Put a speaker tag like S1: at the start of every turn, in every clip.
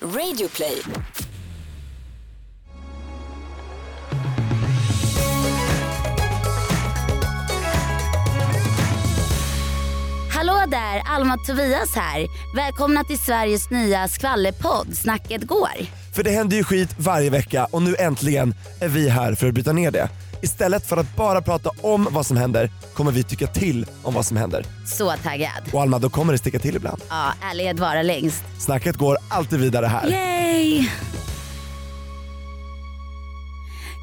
S1: Radioplay.
S2: Hallå där, Alma Tobias här. Välkomna till Sveriges nya skvallerpodd Snacket går.
S3: För det händer ju skit varje vecka och nu äntligen är vi här för att bryta ner det. Istället för att bara prata om vad som händer kommer vi tycka till om vad som händer.
S2: Så taggad.
S3: Och Alma, då kommer det sticka till ibland.
S2: Ja, ärlighet vara längst.
S3: Snacket går alltid vidare här.
S2: Yay!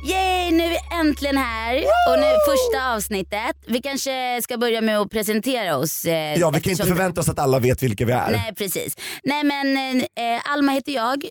S2: Yay, nu är vi äntligen här och nu första avsnittet. Vi kanske ska börja med att presentera oss. eh,
S3: Ja, vi kan inte
S2: eftersom-
S3: förvänta oss att alla vet vilka vi är.
S2: Nej precis. Nej men eh, Alma heter jag,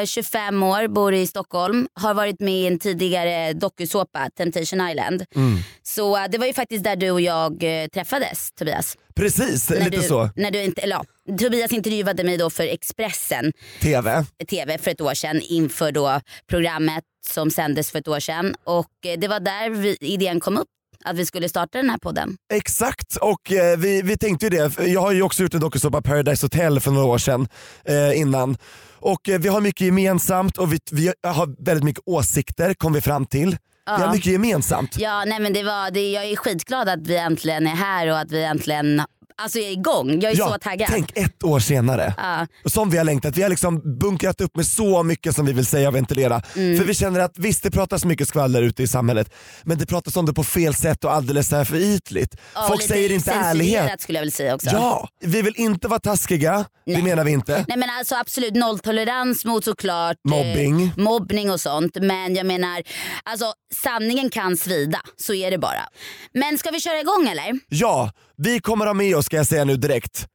S2: eh, 25 år, bor i Stockholm. Har varit med i en tidigare dokusåpa, Temptation Island.
S3: Mm.
S2: Så eh, det var ju faktiskt där du och jag eh, träffades Tobias.
S3: Precis, Eh, lite
S2: du,
S3: så.
S2: När du inte, eller, ja, Tobias intervjuade mig då för Expressen
S3: TV.
S2: TV för ett år sedan inför då programmet som sändes för ett år sedan. Och eh, det var där vi, idén kom upp att vi skulle starta den här podden.
S3: Exakt, och eh, vi, vi tänkte ju det. Jag har ju också gjort en dokusåpa, Paradise Hotel, för några år sedan eh, innan. Och eh, vi har mycket gemensamt och vi, vi har väldigt mycket åsikter kom vi fram till. Vi har mycket gemensamt.
S2: Ja, nej men det var, det, jag är skitglad att vi äntligen är här och att vi äntligen alltså jag är igång. Jag är så taggad.
S3: Tänk ett år senare.
S2: Ja.
S3: Och Som vi har längtat. Vi har liksom bunkrat upp med så mycket som vi vill säga och ventilera.
S2: Mm.
S3: För vi känner att visst det pratas mycket skvaller ute i samhället men det pratas om det på fel sätt och alldeles så här för ytligt.
S2: Ja,
S3: Folk
S2: lite
S3: säger inte
S2: censurerat
S3: ärlighet.
S2: skulle jag vilja säga också.
S3: Ja, vi vill inte vara taskiga. Det menar vi inte.
S2: Nej men alltså absolut nolltolerans mot såklart
S3: Mobbing.
S2: Eh, mobbning och sånt. Men jag menar, alltså sanningen kan svida. Så är det bara. Men ska vi köra igång eller?
S3: Ja, vi kommer ha med oss ska jag säga nu direkt.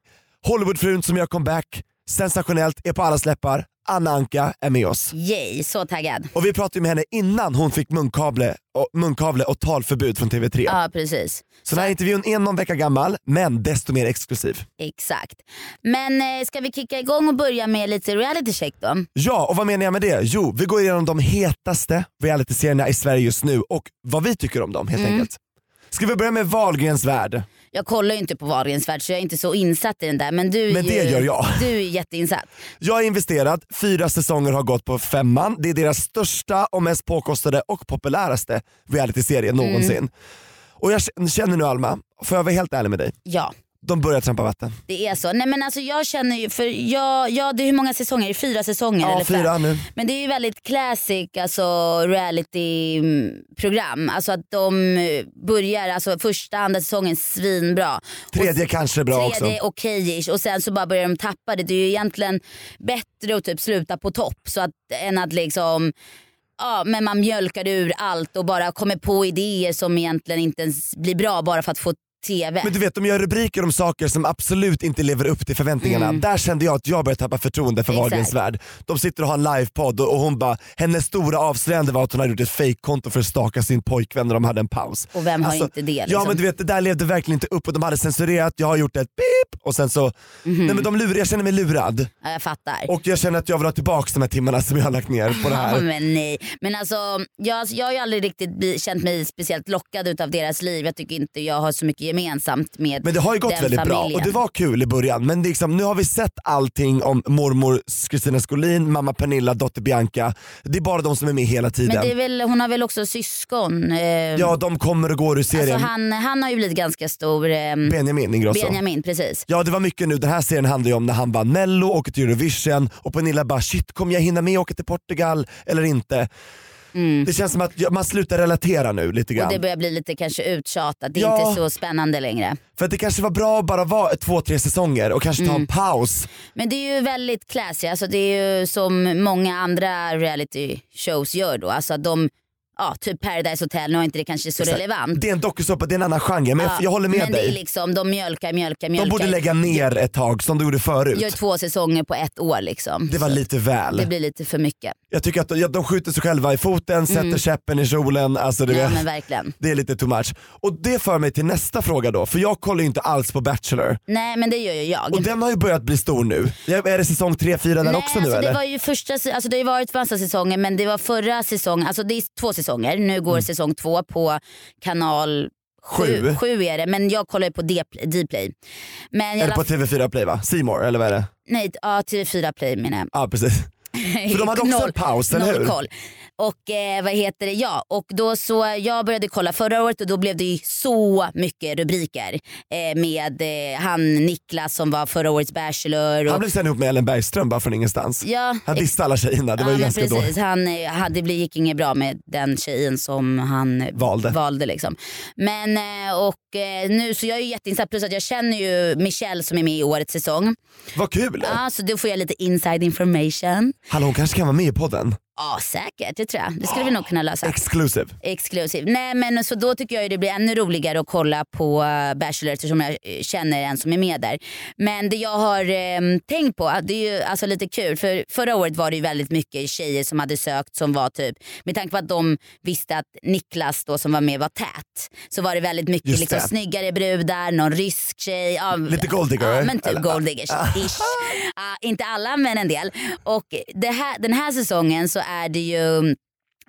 S3: Hollywoodfrun som gör comeback, sensationellt, är på alla släppar. Anna Anka är med oss.
S2: Yay, så taggad.
S3: Och vi pratade ju med henne innan hon fick munkavle och, munkavle och talförbud från TV3.
S2: Ja precis.
S3: Så den här intervjun är någon vecka gammal, men desto mer exklusiv.
S2: Exakt. Men eh, ska vi kicka igång och börja med lite reality check då?
S3: Ja, och vad menar jag med det? Jo, vi går igenom de hetaste realityserierna i Sverige just nu och vad vi tycker om dem helt
S2: Mm.
S3: enkelt. Ska vi börja med Wahlgrens värld?
S2: Jag kollar ju inte på Wahlgrens värld så jag är inte så insatt i den där. Men du är
S3: Men det
S2: ju,
S3: gör jag.
S2: Du är ju jätteinsatt.
S3: Jag har investerat, fyra säsonger har gått på femman. Det är deras största och mest påkostade och populäraste realityserie
S2: Mm.
S3: någonsin. Och jag k- känner nu Alma, får jag vara helt ärlig med dig?
S2: Ja.
S3: De börjar trampa vatten.
S2: Det är så. Nej men alltså jag känner ju, för jag, ja det är hur många säsonger? Är det Fyra säsonger?
S3: Ja,
S2: eller fem?
S3: fyra nu.
S2: Men det är ju väldigt classic alltså reality-program. Alltså att de eh, börjar, alltså första, andra säsongen svinbra.
S3: Tredje kanske är bra
S2: och,
S3: också.
S2: tredje okej-ish och sen så bara börjar de tappa det. Det är ju egentligen bättre att typ sluta på topp så att, än att liksom Ja, men man mjölkar ur allt och bara kommer på idéer som egentligen inte ens blir bra bara för att få TV.
S3: Men du vet de gör rubriker om saker som absolut inte lever upp till förväntningarna. Där kände jag att jag började tappa förtroende för
S2: Mm. Exakt.
S3: Wahlgrens värld. De sitter och har en livepodd och och hon bara, hennes stora avslöjande var att hon hade gjort ett fejkkonto för att staka sin pojkvän när de hade en paus. Alltså,
S2: Och vem har inte det, liksom?
S3: Ja men du vet det där levde verkligen inte upp och de hade censurerat, jag har gjort ett pip och sen så,
S2: Mhm.
S3: nej men de lurar, jag känner mig lurad.
S2: Ja, jag fattar.
S3: Och jag känner att jag vill ha tillbaka de här timmarna som jag har lagt ner på det
S2: Ja,
S3: här.
S2: men nej. Men alltså, jag, alltså, jag har ju aldrig riktigt bli, känt mig speciellt lockad utav deras liv. Jag tycker inte jag har så mycket gemensamt med
S3: Men det har ju gått
S2: den
S3: väldigt
S2: familjen.
S3: bra och det var kul i början men liksom, nu har vi sett allting om mormor Kristina Skolin, mamma Pernilla, dotter Bianca. Det är bara de som är med hela tiden.
S2: Men det är väl, hon har väl också syskon? Eh,
S3: Ja de kommer och går ur serien.
S2: alltså han, han har ju blivit ganska stor. Eh,
S3: Benjamin Ingrosso.
S2: Benjamin, precis.
S3: Ja det var mycket nu, den här serien handlar ju om när han vann mello, åker till Eurovision och Pernilla bara shit kommer jag hinna med att åka till Portugal eller inte? Det känns som att ja, man slutar relatera nu lite
S2: Mm. Och
S3: grann.
S2: det börjar bli lite kanske uttjatat. Det är
S3: Ja.
S2: inte så spännande längre.
S3: För att det kanske var bra att bara vara två, tre säsonger och kanske
S2: Mm.
S3: ta en paus.
S2: Men det är ju väldigt classy. Alltså det är ju som många andra reality shows gör då. Alltså att de, ja, typ Paradise Hotel, nu är inte det kanske så relevant.
S3: Det är en dokusåpa, det är en annan genre men jag, jag håller med
S2: men
S3: dig.
S2: det är liksom, de mjölkar, mjölkar, mjölkar.
S3: De borde lägga ner ett tag som de gjorde förut.
S2: Gör två säsonger på ett år liksom.
S3: Det var
S2: Så
S3: lite väl.
S2: det blir lite för mycket.
S3: Jag tycker att de, ja, de skjuter sig själva i foten, sätter käppen i kjolen. Alltså, du
S2: Mm. Ja
S3: vet.
S2: men verkligen.
S3: Det är lite too much. Och det för mig till nästa fråga då, för jag kollar ju inte alls på Bachelor.
S2: Nej men det gör ju jag.
S3: Och den har ju börjat bli stor nu. Ja, Är det säsong 3, 4 där
S2: Nej,
S3: också nu
S2: alltså det
S3: eller?
S2: var ju första, se- alltså det har ju varit massa säsonger men det var förra säsongen, alltså det är två säsonger, nu går säsong två på kanal
S3: Mm. Sju.
S2: Sju är det, men jag kollar ju på D- Dplay. Men i
S3: Eller
S2: alla
S3: på TV4 Play va? Seymour eller vad är det?
S2: nej, ja, TV4 Play menar jag.
S3: Ja precis. För de hade också
S2: Noll-
S3: en paus, eller
S2: noll
S3: hur?
S2: koll. Och eh, vad heter det, ja. Och då så, jag började kolla förra året och då blev det ju så mycket rubriker. Eh, med eh, han Niklas som var förra årets bachelor. Och,
S3: Han blev sen ihop med Ellen Bergström bara från ingenstans.
S2: ja,
S3: Han dissade alla tjejerna, det var
S2: ja, men
S3: ju ganska dåligt.
S2: precis. Han, eh, han, det blev- gick inget bra med den tjejen som han eh,
S3: Valde.
S2: valde liksom. Men eh, och eh, nu så jag är ju jätteinsatt plus att jag känner ju Michelle som är med i årets säsong.
S3: Vad kul!
S2: Ja, så då får jag lite inside information.
S3: Hallå hon kanske kan vara med i podden?
S2: Ja säkert, det tror jag. Det skulle vi nog kunna lösa.
S3: Exclusive.
S2: Exklusiv. Nej men så då tycker jag ju det blir ännu roligare att kolla på eh, Bachelor eftersom jag eh, känner en som är med där. Men det jag har eh, tänkt på, att det är ju alltså lite kul för förra året var det ju väldigt mycket tjejer som hade sökt som var typ, med tanke på att de visste att Niklas då som var med var tät så var det väldigt mycket
S3: Just
S2: liksom,
S3: det.
S2: snyggare brudar, någon rysk tjej. Ja,
S3: Lite golddigger,
S2: Ja men
S3: eller?
S2: typ golddiggers. Ish. Ja, inte alla men en del. Och det här, den här säsongen så är det ju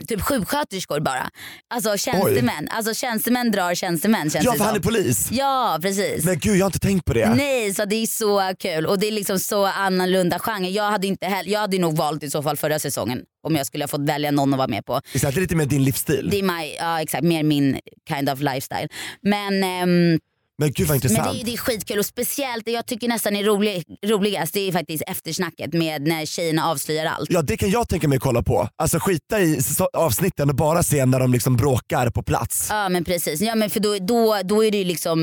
S2: typ sjuksköterskor bara. Alltså tjänstemän. Alltså tjänstemän drar tjänstemän känns
S3: Ja
S2: det
S3: för han är
S2: som.
S3: polis.
S2: Ja precis.
S3: Men gud jag har inte tänkt på det.
S2: Nej så det är så kul och det är liksom så annorlunda genre. Jag hade, inte heller, jag hade nog valt i så fall förra säsongen om jag skulle ha fått välja någon att vara med på.
S3: Visst är det lite mer din livsstil?
S2: Det är my, ja, exakt, mer min kind of lifestyle. Men ehm,
S3: Men gud vad
S2: men det
S3: intressant.
S2: är, det är skitkul och speciellt det jag tycker nästan är rolig, roligast det är faktiskt eftersnacket med när tjejerna avslöjar allt.
S3: Ja det kan jag tänka mig att kolla på. Alltså skita i s- avsnitten och bara se när de liksom bråkar på plats.
S2: Ja men precis, ja, men för då, då, då är det ju liksom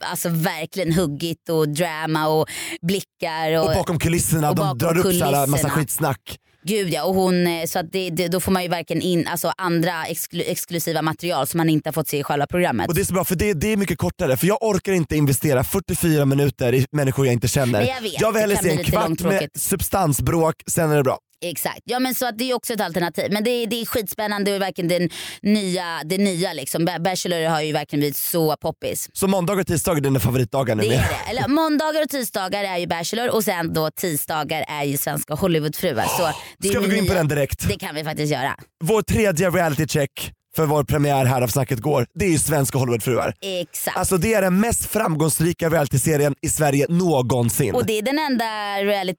S2: alltså, verkligen huggigt och drama och blickar. Och,
S3: Och bakom kulisserna,
S2: och
S3: de
S2: bakom
S3: drar upp så här massa
S2: kulisserna.
S3: skitsnack.
S2: Gud ja, och hon, eh, så att det, det, då får man ju verkligen in alltså, andra exklu, exklusiva material som man inte har fått se i själva programmet.
S3: Och det är så bra för det, det är mycket kortare för jag orkar inte investera 44 minuter i människor jag inte känner.
S2: Nej, jag vet.
S3: vill
S2: Det
S3: hellre
S2: kan
S3: se
S2: bli
S3: en
S2: lite
S3: kvart med
S2: långtråkigt.
S3: substansbråk, sen är det bra.
S2: Exakt, ja men så att det är också ett alternativ. Men det, är- det är skitspännande och verkligen den nya, det nya liksom. Ba- Bachelor har ju verkligen blivit så poppis.
S3: Så måndag och tisdag är dina favoritdagar nu
S2: Det är
S3: med.
S2: det. Eller, måndagar och tisdagar är ju Bachelor och sen då tisdagar är ju Svenska Hollywoodfruar. Så det är
S3: Ska vi
S2: ju
S3: gå in på
S2: nya-
S3: den direkt?
S2: Det kan vi faktiskt göra.
S3: Vår tredje reality check för vår premiär här av Snacket går, det är ju Svenska Hollywoodfruar.
S2: Exakt.
S3: Alltså det är den mest framgångsrika realityserien i Sverige någonsin.
S2: och det är den enda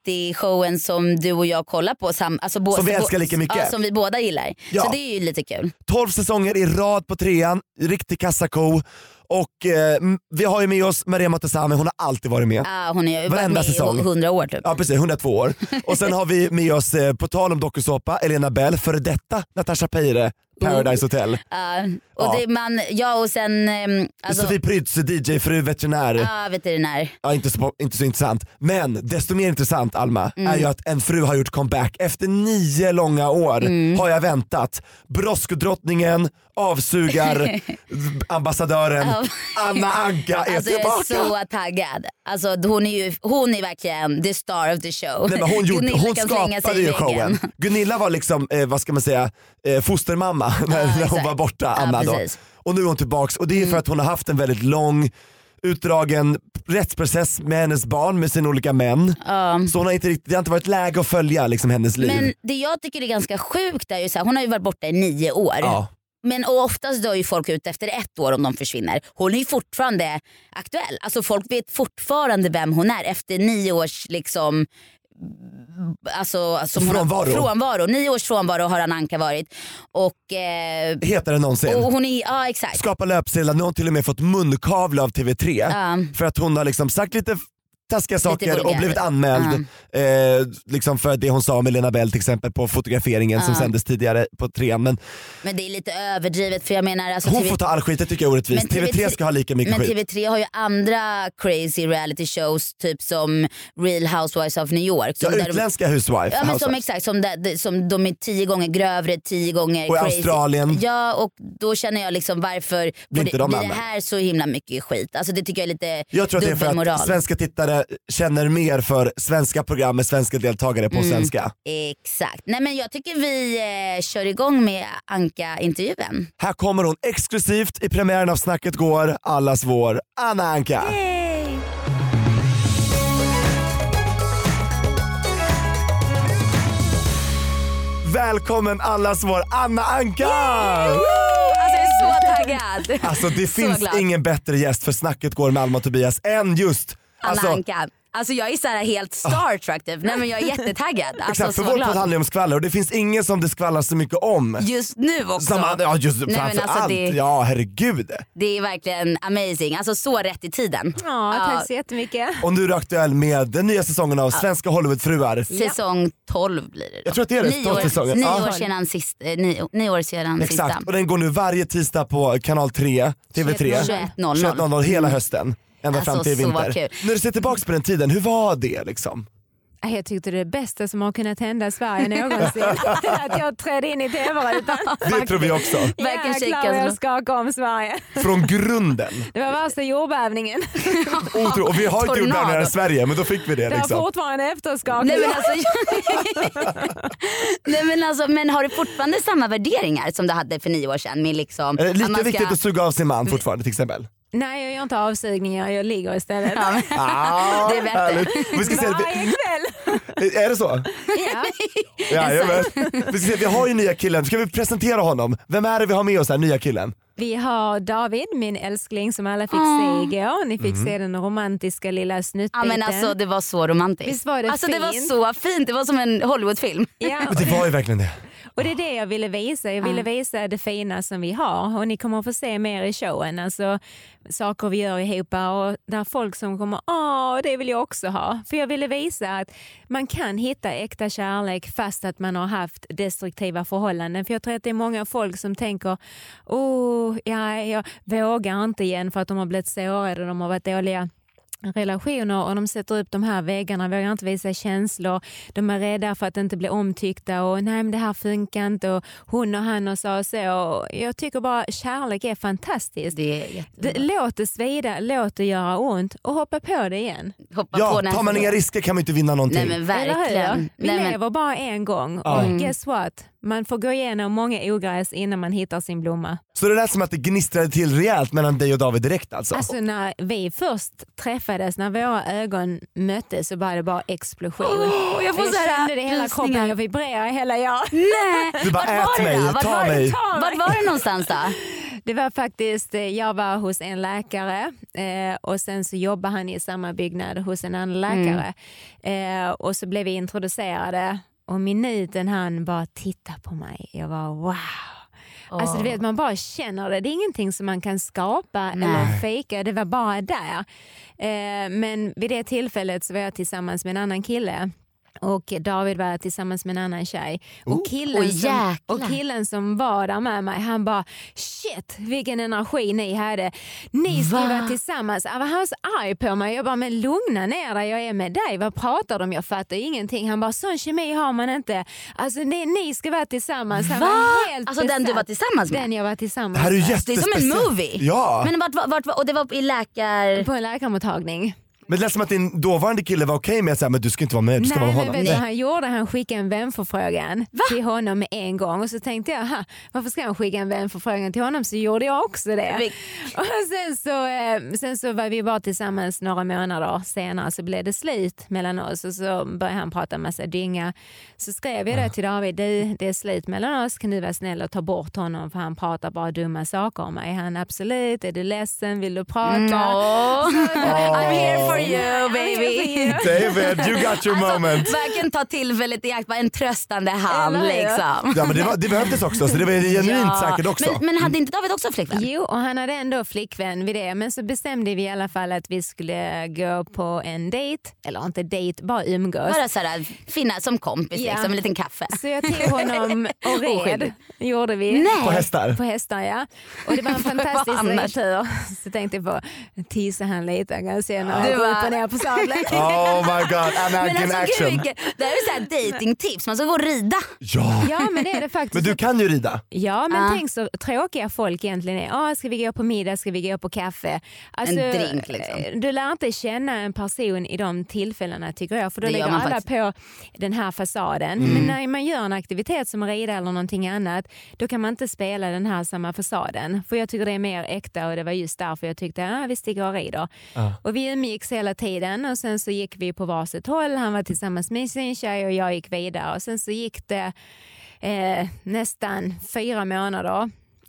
S2: reality-showen som du och jag kollar på. Sam, alltså bo,
S3: Som vi
S2: bo-
S3: älskar lika mycket.
S2: Ja, som vi båda gillar.
S3: Ja.
S2: Så det är ju lite kul.
S3: 12 säsonger i rad på trean, riktig kassako. Och eh, m- vi har ju med oss Maria Montazami, hon har alltid varit med.
S2: Ah, hon är ju varit
S3: Varenda
S2: med
S3: säsong.
S2: i hundra år typ.
S3: Ja precis, 102 år. Och sen har vi med oss, eh, på tal om dokusåpa, Elena Bell, före detta Natasha Peire,
S2: Oh.
S3: Paradise Hotel.
S2: Ja, Ah, och
S3: Ja.
S2: Det, man, ja och sen... ehm, Alltså,
S3: Sofie Prytz, DJ-fru, veterinär.
S2: ja, veterinär.
S3: Ja, inte, så, inte så intressant. Men desto mer intressant Alma,
S2: Mm.
S3: är ju att en fru har gjort comeback. Efter nio långa år
S2: Mm.
S3: har jag väntat. Broskdrottningen, avsugarambassadören, Anna Anka är
S2: Alltså, jag är
S3: tillbaka.
S2: så taggad. Alltså, hon, är ju, hon är verkligen the star of the show.
S3: Nej, men hon gjorde,
S2: Gunilla
S3: hon
S2: kan slänga sig
S3: skapade
S2: i
S3: ju
S2: väggen.
S3: showen. Gunilla var liksom, eh, vad ska man säga, eh, fostermamma när, när hon
S2: exakt.
S3: var borta,
S2: Ja,
S3: Anna
S2: precis.
S3: då.
S2: Mm.
S3: Och nu är hon tillbaks och det är för att hon har haft en väldigt lång utdragen rättsprocess med hennes barn med sina olika män. Så hon har inte riktigt, det har inte varit läge att följa liksom hennes liv.
S2: Men det jag tycker är ganska sjukt är ju så här, hon har ju varit borta i nio år.
S3: Ja.
S2: Men och oftast dör ju folk ut efter ett år om de försvinner. Hon är ju fortfarande aktuell. Alltså folk vet fortfarande vem hon är efter nio års liksom Alltså, som hon
S3: Frånvaro.
S2: Har, frånvaro. Nio års frånvaro har Ananka varit. Och, eh,
S3: Hetare än någonsin.
S2: och hon är, ja exakt.
S3: Skapa löpsedlar, nu har hon till och med fått munkavle av TV3 för att hon har liksom sagt lite taskiga saker och
S2: vulgär.
S3: blivit anmäld eh, liksom för det hon sa om Elena Bell till exempel på fotograferingen som sändes tidigare på trean. Men
S2: Men det är lite överdrivet för jag menar alltså,
S3: Hon
S2: TV
S3: får ta all skit, det tycker jag är orättvist.
S2: Men
S3: TV3 ska ha lika mycket
S2: Men
S3: skit.
S2: TV3 har ju andra crazy reality shows typ som Real Housewives of New York.
S3: Ja,
S2: Som där de-
S3: utländska alltså. housewife.
S2: Ja, men som,
S3: housewife.
S2: exakt, som, där, som de är tio gånger grövre, tio gånger
S3: Och i
S2: crazy.
S3: Australien.
S2: Ja och då känner jag liksom varför blir, det,
S3: inte de
S2: blir det
S3: anmälda?
S2: här så himla mycket skit? Alltså det tycker jag är lite
S3: jag tror att det är för
S2: dubbelmoral.
S3: att svenska tittare känner mer för svenska program med svenska deltagare på
S2: Mm.
S3: svenska.
S2: Exakt. Nej men jag tycker vi eh, kör igång med Anka-intervjun.
S3: Här kommer hon exklusivt i premiären av Snacket går, allas vår, Anna Anka. Välkommen allas vår Anna Anka!
S2: Alltså jag är så taggad. god.
S3: Alltså det
S2: Så
S3: finns
S2: glad.
S3: ingen bättre gäst för snacket går med Alma och Tobias än just
S2: Anna
S3: alltså, Ah.
S2: Anka. Alltså jag är så här helt starstruck typ. Nej men jag är jättetaggad. Alltså,
S3: Exakt, för
S2: så
S3: vår
S2: glad.
S3: podd handlar ju om skvaller och det finns ingen som det skvallrar så mycket om.
S2: Just nu också.
S3: Som, ja just
S2: men
S3: framför
S2: alltså,
S3: allt.
S2: det-
S3: Ja herregud.
S2: Det är verkligen amazing. Alltså så rätt i tiden.
S1: Ja, tack så jättemycket.
S3: Och nu är du aktuell med den nya säsongen av Svenska Hollywoodfruar.
S2: Säsong 12 blir det då.
S3: Jag tror att det är det,
S2: Nio
S3: 12
S2: år,
S3: säsongen.
S2: nio
S3: Ja.
S2: år sedan, sist, eh, nio, nio år sedan
S3: Exakt,
S2: sista.
S3: och den går nu varje tisdag på kanal 3, TV3.
S2: 21.00.
S3: 21.00 hela hösten. Ända
S2: Alltså,
S3: fram till
S2: så
S3: vinter.
S2: kul.
S3: När du ser tillbaka på den tiden, hur var det liksom?
S1: Nej, Äh, Jag tyckte det bästa som har kunnat hända Sverige någonsin. att jag trädde in i tv-rutan.
S3: Det tror vi också.
S2: Verkligen
S1: Jäklar
S2: kika
S1: vad jag
S2: som-
S1: skakade om Sverige.
S3: Från grunden.
S1: Det var värsta jordbävningen.
S3: Otro. Och vi har inte gjort
S2: Tornado.
S3: det här i Sverige men då fick vi det
S1: Det har
S3: liksom.
S1: fortfarande efterskakning.
S2: Nej men, alltså, Nej, men, alltså, men har du fortfarande samma värderingar som du hade för nio år sedan? Med liksom,
S3: Är det
S2: att
S3: lika
S2: man ska-
S3: Eh, viktigt att suga av sin man fortfarande till exempel?
S1: Nej, jag gör inte avsugningar. Jag ligger istället.
S3: Ah,
S2: Det är bättre.
S3: härligt. Vi ska se,
S1: Varje kväll.
S3: vi, är det så?
S1: Ja.
S3: Jajamän. Vi, ska se, vi har ju nya killen, ska vi presentera honom? Vem är det vi har med oss här, nya killen?
S1: Vi har David, min älskling som alla fick se igår. Ni
S3: Mhm.
S1: fick se den romantiska lilla
S2: Ja
S1: snuttbiten.
S2: men alltså det var så romantiskt.
S1: Visst var det
S2: alltså det var
S1: fint?
S2: så fint, det var som en Hollywoodfilm.
S1: ja,
S3: Det var ju verkligen det.
S1: och det är det jag ville visa. Jag ville visa det fina som vi har och ni kommer att få se mer i showen. Alltså, saker vi gör ihop och där folk som kommer åh det vill jag också ha. För jag ville visa att man kan hitta äkta kärlek fast att man har haft destruktiva förhållanden. För jag tror att det är många folk som tänker åh ja, jag vågar inte igen för att de har blivit sårade, de har varit dåliga relationer och de sätter upp de här väggarna, vågar inte visa känslor. De är rädda för att inte bli omtyckta och nej men det här funkar inte och hon och han och så och så. Och Jag tycker bara kärlek är fantastiskt.
S2: Det är jättebra.
S1: Det, låt det svida, låt det göra ont och hoppa på det igen.
S2: Hoppa på
S3: Ja,
S2: nästa
S3: tar man
S2: gång.
S3: inga risker kan man inte vinna någonting.
S2: Nej men
S1: Eller hur?
S2: verkligen.
S1: Vi
S2: Nej, men,
S1: lever bara en gång
S3: Ja.
S1: och guess what? Man får gå igenom många ogräs innan man hittar sin blomma.
S3: Så det lät som att det gnistrade till rejält mellan dig och David direkt alltså?
S1: Alltså när vi först träffades, när våra ögon möttes så var det bara explosion.
S2: jag får
S1: jag
S2: så här
S1: kände det i hela
S2: rysningar.
S1: kroppen, jag vibrerar i hela jag.
S2: nej.
S3: du bara
S2: var
S3: ät
S2: det
S3: mig,
S2: där? Vart
S3: ta
S2: var det?
S3: mig.
S2: Vart var det någonstans då?
S1: Det var faktiskt, eh, jag var hos en läkare eh, och sen så jobbade han i samma byggnad hos en
S2: Mm.
S1: annan läkare. Eh, och så blev vi introducerade och minuten han bara titta på mig, jag var wow. Alltså du vet man bara känner det, det är ingenting som man kan skapa eller fejka, det var bara där. Eh, men vid det tillfället så var jag tillsammans med en annan kille och David var tillsammans med en annan tjej. Och killen,
S2: Oj,
S1: som,
S2: jäklar.
S1: och killen som var där med mig han bara shit vilken energi ni hade. Ni skulle vara tillsammans. Jag var han var så arg på mig. Jag bara men lugna ner dig jag är med dig. Vad pratar de om? Jag fattar ingenting. Han bara sån kemi har man inte. Alltså ni, ni ska vara tillsammans. Han var helt
S2: Alltså den du
S1: besatt.
S2: var tillsammans med?
S1: Den jag var tillsammans
S3: Det här är ju
S1: med.
S2: Det är som en
S3: jättespeciellt.
S2: movie.
S3: Ja, men,
S2: Men vart, vart, vart, och det var i läkar...
S1: På en läkarmottagning.
S3: det lät som att din dåvarande kille var okej med att säga men du ska inte vara med, du ska
S1: Nej,
S3: vara med
S1: men
S3: honom.
S1: vet du vad han gjorde? Han skickade en vänförfrågan till honom med en gång och så tänkte jag, "Ha, varför ska han skicka en vänförfrågan till honom? Så gjorde jag också det.
S2: Vi-
S1: Och sen, så, eh, sen så var vi bara tillsammans några månader senare så blev det slut mellan oss och så började han prata en massa dynga. Så skrev
S3: Ah.
S1: jag det till David, du det är slut mellan oss, kan du vara snäll och ta bort honom för han pratar bara dumma saker om mig. Han absolut, är du ledsen, vill du prata?
S2: Åh. I'm here for
S1: I'm here
S2: you Alltså,
S1: for
S2: baby.
S1: you.
S3: David, you got your moment.
S2: Verkligen ta tillfället i akt, bara en tröstande hand
S1: Eller hur?
S2: liksom.
S3: Ja men det, var, det behövdes också så det var genuint
S2: Ja.
S3: säkert också.
S2: Men, men hade inte David också flickvän?
S1: Jo, och han hade ändå flickvän vid det. Men så bestämde vi i alla fall att vi skulle gå på en dejt. Eller inte dejt, bara umgås.
S2: Bara såhär finna som kompis
S1: Ja.
S2: liksom, en liten kaffe.
S1: Så jag tog honom och red.
S2: Oskyldig.
S1: gjorde vi.
S2: Nej.
S3: På hästar?
S1: På hästar ja. Och det var en
S2: Vad
S1: fantastisk
S2: annars?
S1: ridtur. Så tänkte jag på, tisa han lite kan jag se när
S2: Du
S1: han går upp
S2: bara-
S1: och ner på sadeln.
S3: Oh my god,
S2: Men
S3: American
S2: alltså, gud,
S3: action.
S2: vilket, det här är såhär datingtips, man ska gå och rida.
S3: Ja,
S1: Ja men det är det faktiskt.
S3: men du kan ju rida.
S1: Ja men
S2: Ah.
S1: tänk så tråkiga folk egentligen är. Ah, ska vi gå på middag, ska vi gå på kaffe? Alltså,
S2: En drink, liksom.
S1: Du lär inte känna en person i de tillfällena tycker jag. För då
S2: Det gör
S1: lägger
S2: man
S1: alla
S2: faktiskt.
S1: på den här fasaden.
S3: Mm.
S1: Men när man gör en aktivitet som att rida eller någonting annat då kan man inte spela den här samma fasaden. För jag tycker det är mer äkta och det var just därför jag tyckte ah, vi sticker och rider. Och vi umgicks hela tiden och sen så gick vi på varsitt håll. Han var tillsammans med sin tjej och jag gick vidare. Och sen så gick det eh, nästan fyra månader.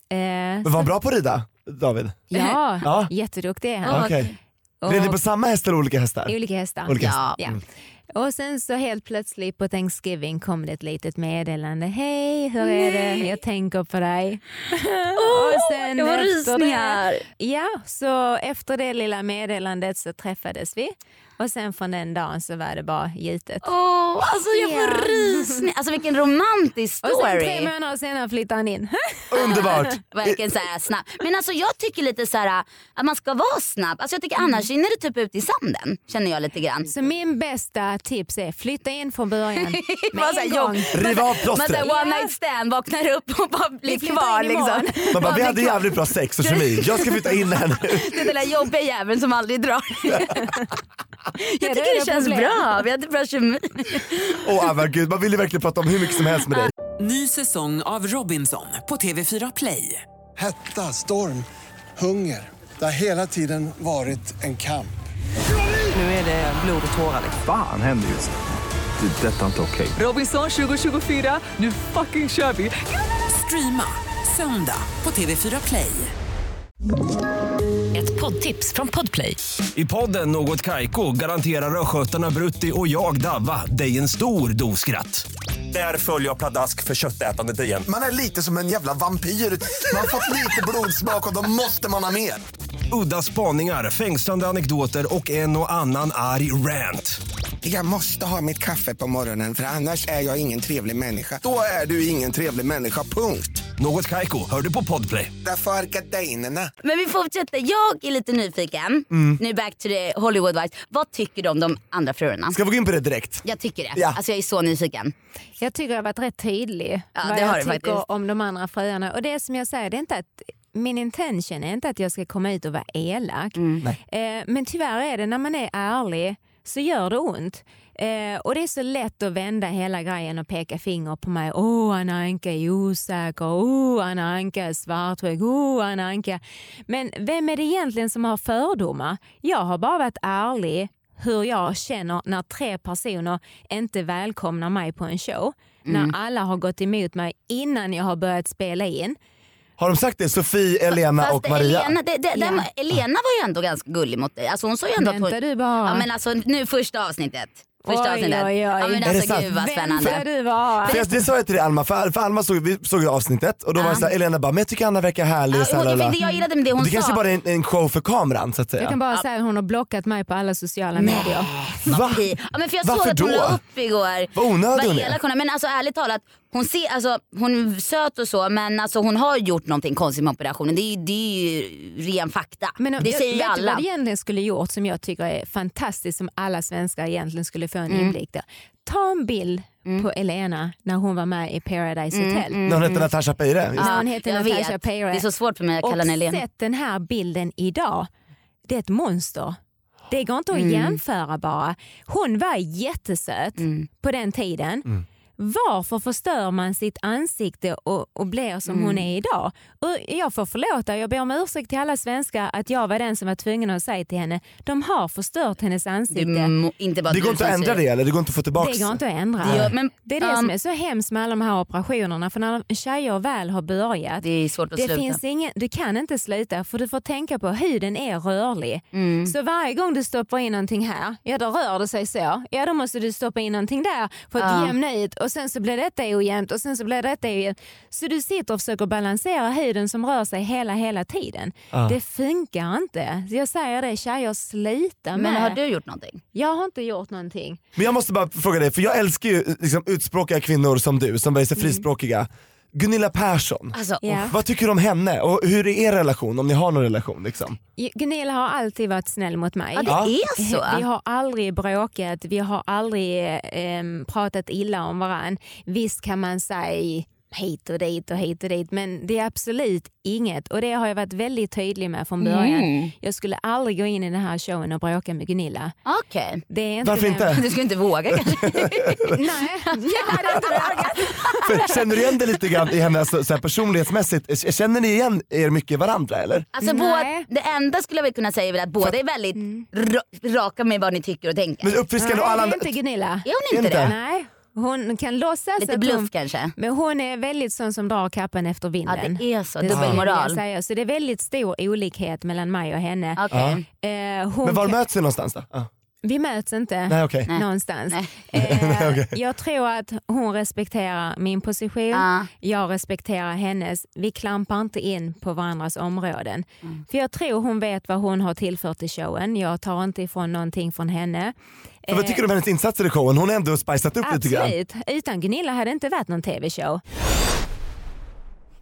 S1: Eh,
S3: Men var han bra på att rida? David?
S1: Ja,
S3: Ja.
S1: jätteduktig är han.
S3: Okej.
S1: Och-
S3: Red ni på samma häst eller olika hästar?
S1: Olika hästar.
S3: Olika hästar. Mm.
S2: Ja.
S1: Ja. Och sen så helt plötsligt på Thanksgiving kom det ett litet meddelande. Hej, hur är det? Jag tänker på dig.
S2: Åh,
S1: Och sen
S2: jag får
S1: efter
S2: rysningar.
S1: Ja, så efter det lilla meddelandet så träffades vi och sen från den dagen så var det bara gjutet.
S2: Åh, alltså jag får
S1: Ja.
S2: rysningar. Alltså vilken romantisk
S1: Och sen tre
S2: story.
S1: månader senare flyttade han in.
S3: Underbart!
S2: Verkligen så här snabb. Men alltså jag tycker lite så här att man ska vara snabb. Alltså jag tycker annars rinner det typ ut i sanden. Känner jag lite grann.
S1: Så min bästa tips är flytta in från början. Med
S2: Bara så här,
S1: en
S2: jag-
S1: gång.
S3: Riv av
S2: Man
S3: plåstret.
S2: såhär one night stand vaknar upp och bara blir
S1: flyttar
S2: kvar
S1: in imorgon.
S2: liksom.
S3: Man bara, vi
S2: blir
S3: hade
S2: kvar.
S3: jävligt bra sex och kemi. Jag ska flytta in här nu.
S2: Den där lilla jobbiga jäveln som aldrig drar. Jag tycker
S1: är
S2: det
S1: era
S2: känns
S1: problem.
S2: bra. Vi hade bra kemi.
S3: Åh oh, gud, man vill ju verkligen prata om hur mycket som helst med dig.
S4: Ny säsong av Robinson på TV4 Play.
S5: Hetta, storm, hunger. Det har hela tiden varit en kamp.
S4: Nu är det blod och tårar.
S6: Fan händer just nu. Det. är Detta är inte okej.
S4: Robinson 2024, nu fucking kör vi! Streama söndag på TV4 Play.
S7: Ett poddtips från Podplay.
S8: I podden Något Kaiko garanterar östgötarna Brutti och jag, Davva, dig en stor dos skratt. Där följer jag pladask för köttätandet igen.
S9: Man är lite som en jävla vampyr. Man har fått lite blodsmak och då måste man ha mer.
S8: Udda spaningar, fängslande anekdoter och en och annan arg rant.
S9: Jag måste ha mitt kaffe på morgonen för annars är jag ingen trevlig människa. Då är du ingen trevlig människa, punkt.
S8: Något Kaiko, hör du på Podplay.
S9: Därför är gardinerna.
S2: Men vi fortsätter. Jag är lite nyfiken.
S1: Mm.
S2: Nu back to the Hollywood vibes. Vad tycker du om de andra fruarna?
S3: Ska vi gå in på det direkt?
S2: Jag tycker det.
S3: Ja.
S2: Alltså jag är så nyfiken.
S1: Jag tycker jag har varit rätt tydlig
S2: Ja,
S1: vad
S2: det har
S1: jag
S2: du
S1: tycker
S2: faktiskt.
S1: om de andra fröarna. Och det som jag säger, det är inte att min intention är inte att jag ska komma ut och vara elak.
S2: Mm.
S1: Eh, men tyvärr är det när man är ärlig så gör det ont. Eh, och det är så lätt att vända hela grejen och peka finger på mig. Åh, Anna Anka är osäker. Åh, Anna Anka är svartsjuk. Åh, Anna Anka. Men vem är det egentligen som har fördomar? Jag har bara varit ärlig hur jag känner när tre personer inte välkomnar mig på en show. När alla har gått emot mig innan jag har börjat spela in.
S3: Har de sagt det? Sofie, Elena och Maria?
S2: Elena, det, det, den- Elena var ju ändå ganska gullig mot dig. Alltså hon sa ju ändå att
S1: Vänta
S2: hon...
S1: du bara.
S2: Ja men alltså nu första avsnittet. Första
S1: Oj,
S2: avsnittet.
S1: oj, oj.
S2: Ja, men
S1: Är
S3: det
S2: alltså
S3: sant?
S2: gud vad
S1: Vänta
S2: spännande.
S1: du bara.
S3: För jag, det sa jag till dig Alma, för, för Alma såg, vi såg ju avsnittet och då var det såhär, Elena bara, men jag tycker Anna verkar härlig.
S2: Ja,
S3: så
S2: hon-
S3: här, la, la.
S2: för det jag gillade med det hon
S3: det kanske
S2: sa.
S3: bara är en, en show för kameran så att säga.
S1: Jag kan bara säga att hon har blockat mig på alla sociala medier.
S3: Va?
S2: I- Ja, men för jag såg
S3: Varför
S2: att hon
S3: då?
S2: la upp igår.
S3: Vad onödig hon
S2: Vad
S3: är.
S2: elak hon är. Men alltså ärligt talat, hon, ser, alltså, hon är söt och så men alltså, hon har gjort någonting konstigt med operationen. Det är, ju- det är ju ren fakta.
S1: Men
S2: det
S1: jag,
S2: säger ju
S1: vet du
S2: alla.
S1: vad det egentligen skulle gjort som jag tycker är fantastiskt som alla svenskar egentligen skulle få en inblick där. Ta en bild på Elena när hon var med i Paradise Hotel.
S3: När hon hette Natasha Peire. just det.
S1: När hon heter
S2: jag
S1: Natasha
S2: vet. Det
S1: Peire.
S2: är så svårt för mig att
S1: och
S2: kalla henne Elena.
S1: sett den här bilden idag. Det är ett monster. Det går inte att
S2: Mm.
S1: jämföra bara. Hon var jättesöt
S2: Mm.
S1: på den tiden. Varför förstör man sitt ansikte och, och blir som hon
S2: Mm.
S1: är idag? Och jag får förlåta, jag ber om ursäkt till alla svenskar att jag var den som var tvungen att säga till henne, de har förstört hennes
S2: Det,
S1: ansikte.
S2: må- inte bara
S3: Det
S2: du
S3: går inte att
S2: som
S3: ändra
S2: säger
S3: det eller? Det går inte att få tillbaka?
S1: Det går inte att ändra.
S2: Det gör- men-
S1: det är det
S2: um,
S1: som är så hemskt med alla de här operationerna. För när tjejer väl har börjat,
S2: Det är svårt att
S1: det
S2: sluta.
S1: finns ingen, du kan inte sluta för du får tänka på huden är rörlig.
S2: Mm.
S1: Så varje gång du stoppar in någonting här, ja då rör det sig så. Ja då måste du stoppa in någonting där för att jämna ut och sen så blir detta ojämnt och sen så blir detta ojämnt. Så du sitter och försöker balansera huden som rör sig hela hela tiden. Det funkar inte. Jag säger det tjejer, sluta med.
S2: Men har du gjort någonting?
S1: Jag har inte gjort någonting.
S3: Men jag måste bara fråga dig, för jag älskar ju liksom, utspråkiga kvinnor som du som är så frispråkiga. Gunilla Persson,
S2: Alltså,
S1: Mm. Ja.
S2: uff.
S3: vad tycker du om henne och hur är er relation om ni har någon relation? Liksom?
S1: Gunilla har alltid varit snäll mot mig.
S2: ja, det
S3: Ja.
S2: är så.
S1: Vi har aldrig bråkat, vi har aldrig ehm, pratat illa om varann. Visst kan man säga hit och dit och hit och dit men det är absolut inget och det har jag varit väldigt tydlig med från början.
S2: Mm.
S1: Jag skulle aldrig gå in i den här showen och bråka med Gunilla.
S2: Okej.
S1: Det är inte
S3: Varför
S1: vem-
S3: inte?
S2: Du skulle inte våga kanske?
S1: Nej, jag hade inte vågat.
S3: För, känner du igen det lite grann i henne alltså, så här, personlighetsmässigt? Känner ni igen er mycket i varandra eller?
S2: Alltså,
S1: Nej. Mm.
S2: båda, det enda skulle jag väl kunna säga är väl att båda är väldigt ra- raka med vad ni tycker och tänker.
S3: Men uppfriskande och alla
S1: Nej,
S3: andra...
S1: det är inte Gunilla.
S2: Är hon inte
S3: Inte.
S2: det?
S1: Nej. Hon kan låtsas
S2: Lite
S1: att hon...
S2: bluff kanske.
S1: Men hon är väldigt sån som drar kappen efter
S2: Ja
S1: vinden.
S2: det är så,
S1: Det skulle jag vilja
S2: dubbelmoral.
S1: säga. Så det är väldigt stor olikhet mellan mig och henne.
S2: Okej.
S1: Eh, hon
S3: Men var
S1: kan-
S3: möts ni någonstans då? Ah.
S1: Vi möts inte
S3: Nej okej.
S1: någonstans.
S2: Nej.
S1: Eh,
S3: okej.
S1: Jag tror att hon respekterar min position,
S2: Ja.
S1: jag respekterar hennes. Vi klampar inte in på varandras områden.
S2: Mm.
S1: För jag tror hon vet vad hon har tillfört i showen. Jag tar inte ifrån någonting från henne.
S3: Så Vad tycker du om hennes insatser i showen? Hon har ändå spicat upp lite grann.
S1: Eh. Absolut. Utan Gunilla hade det inte varit någon tv-show.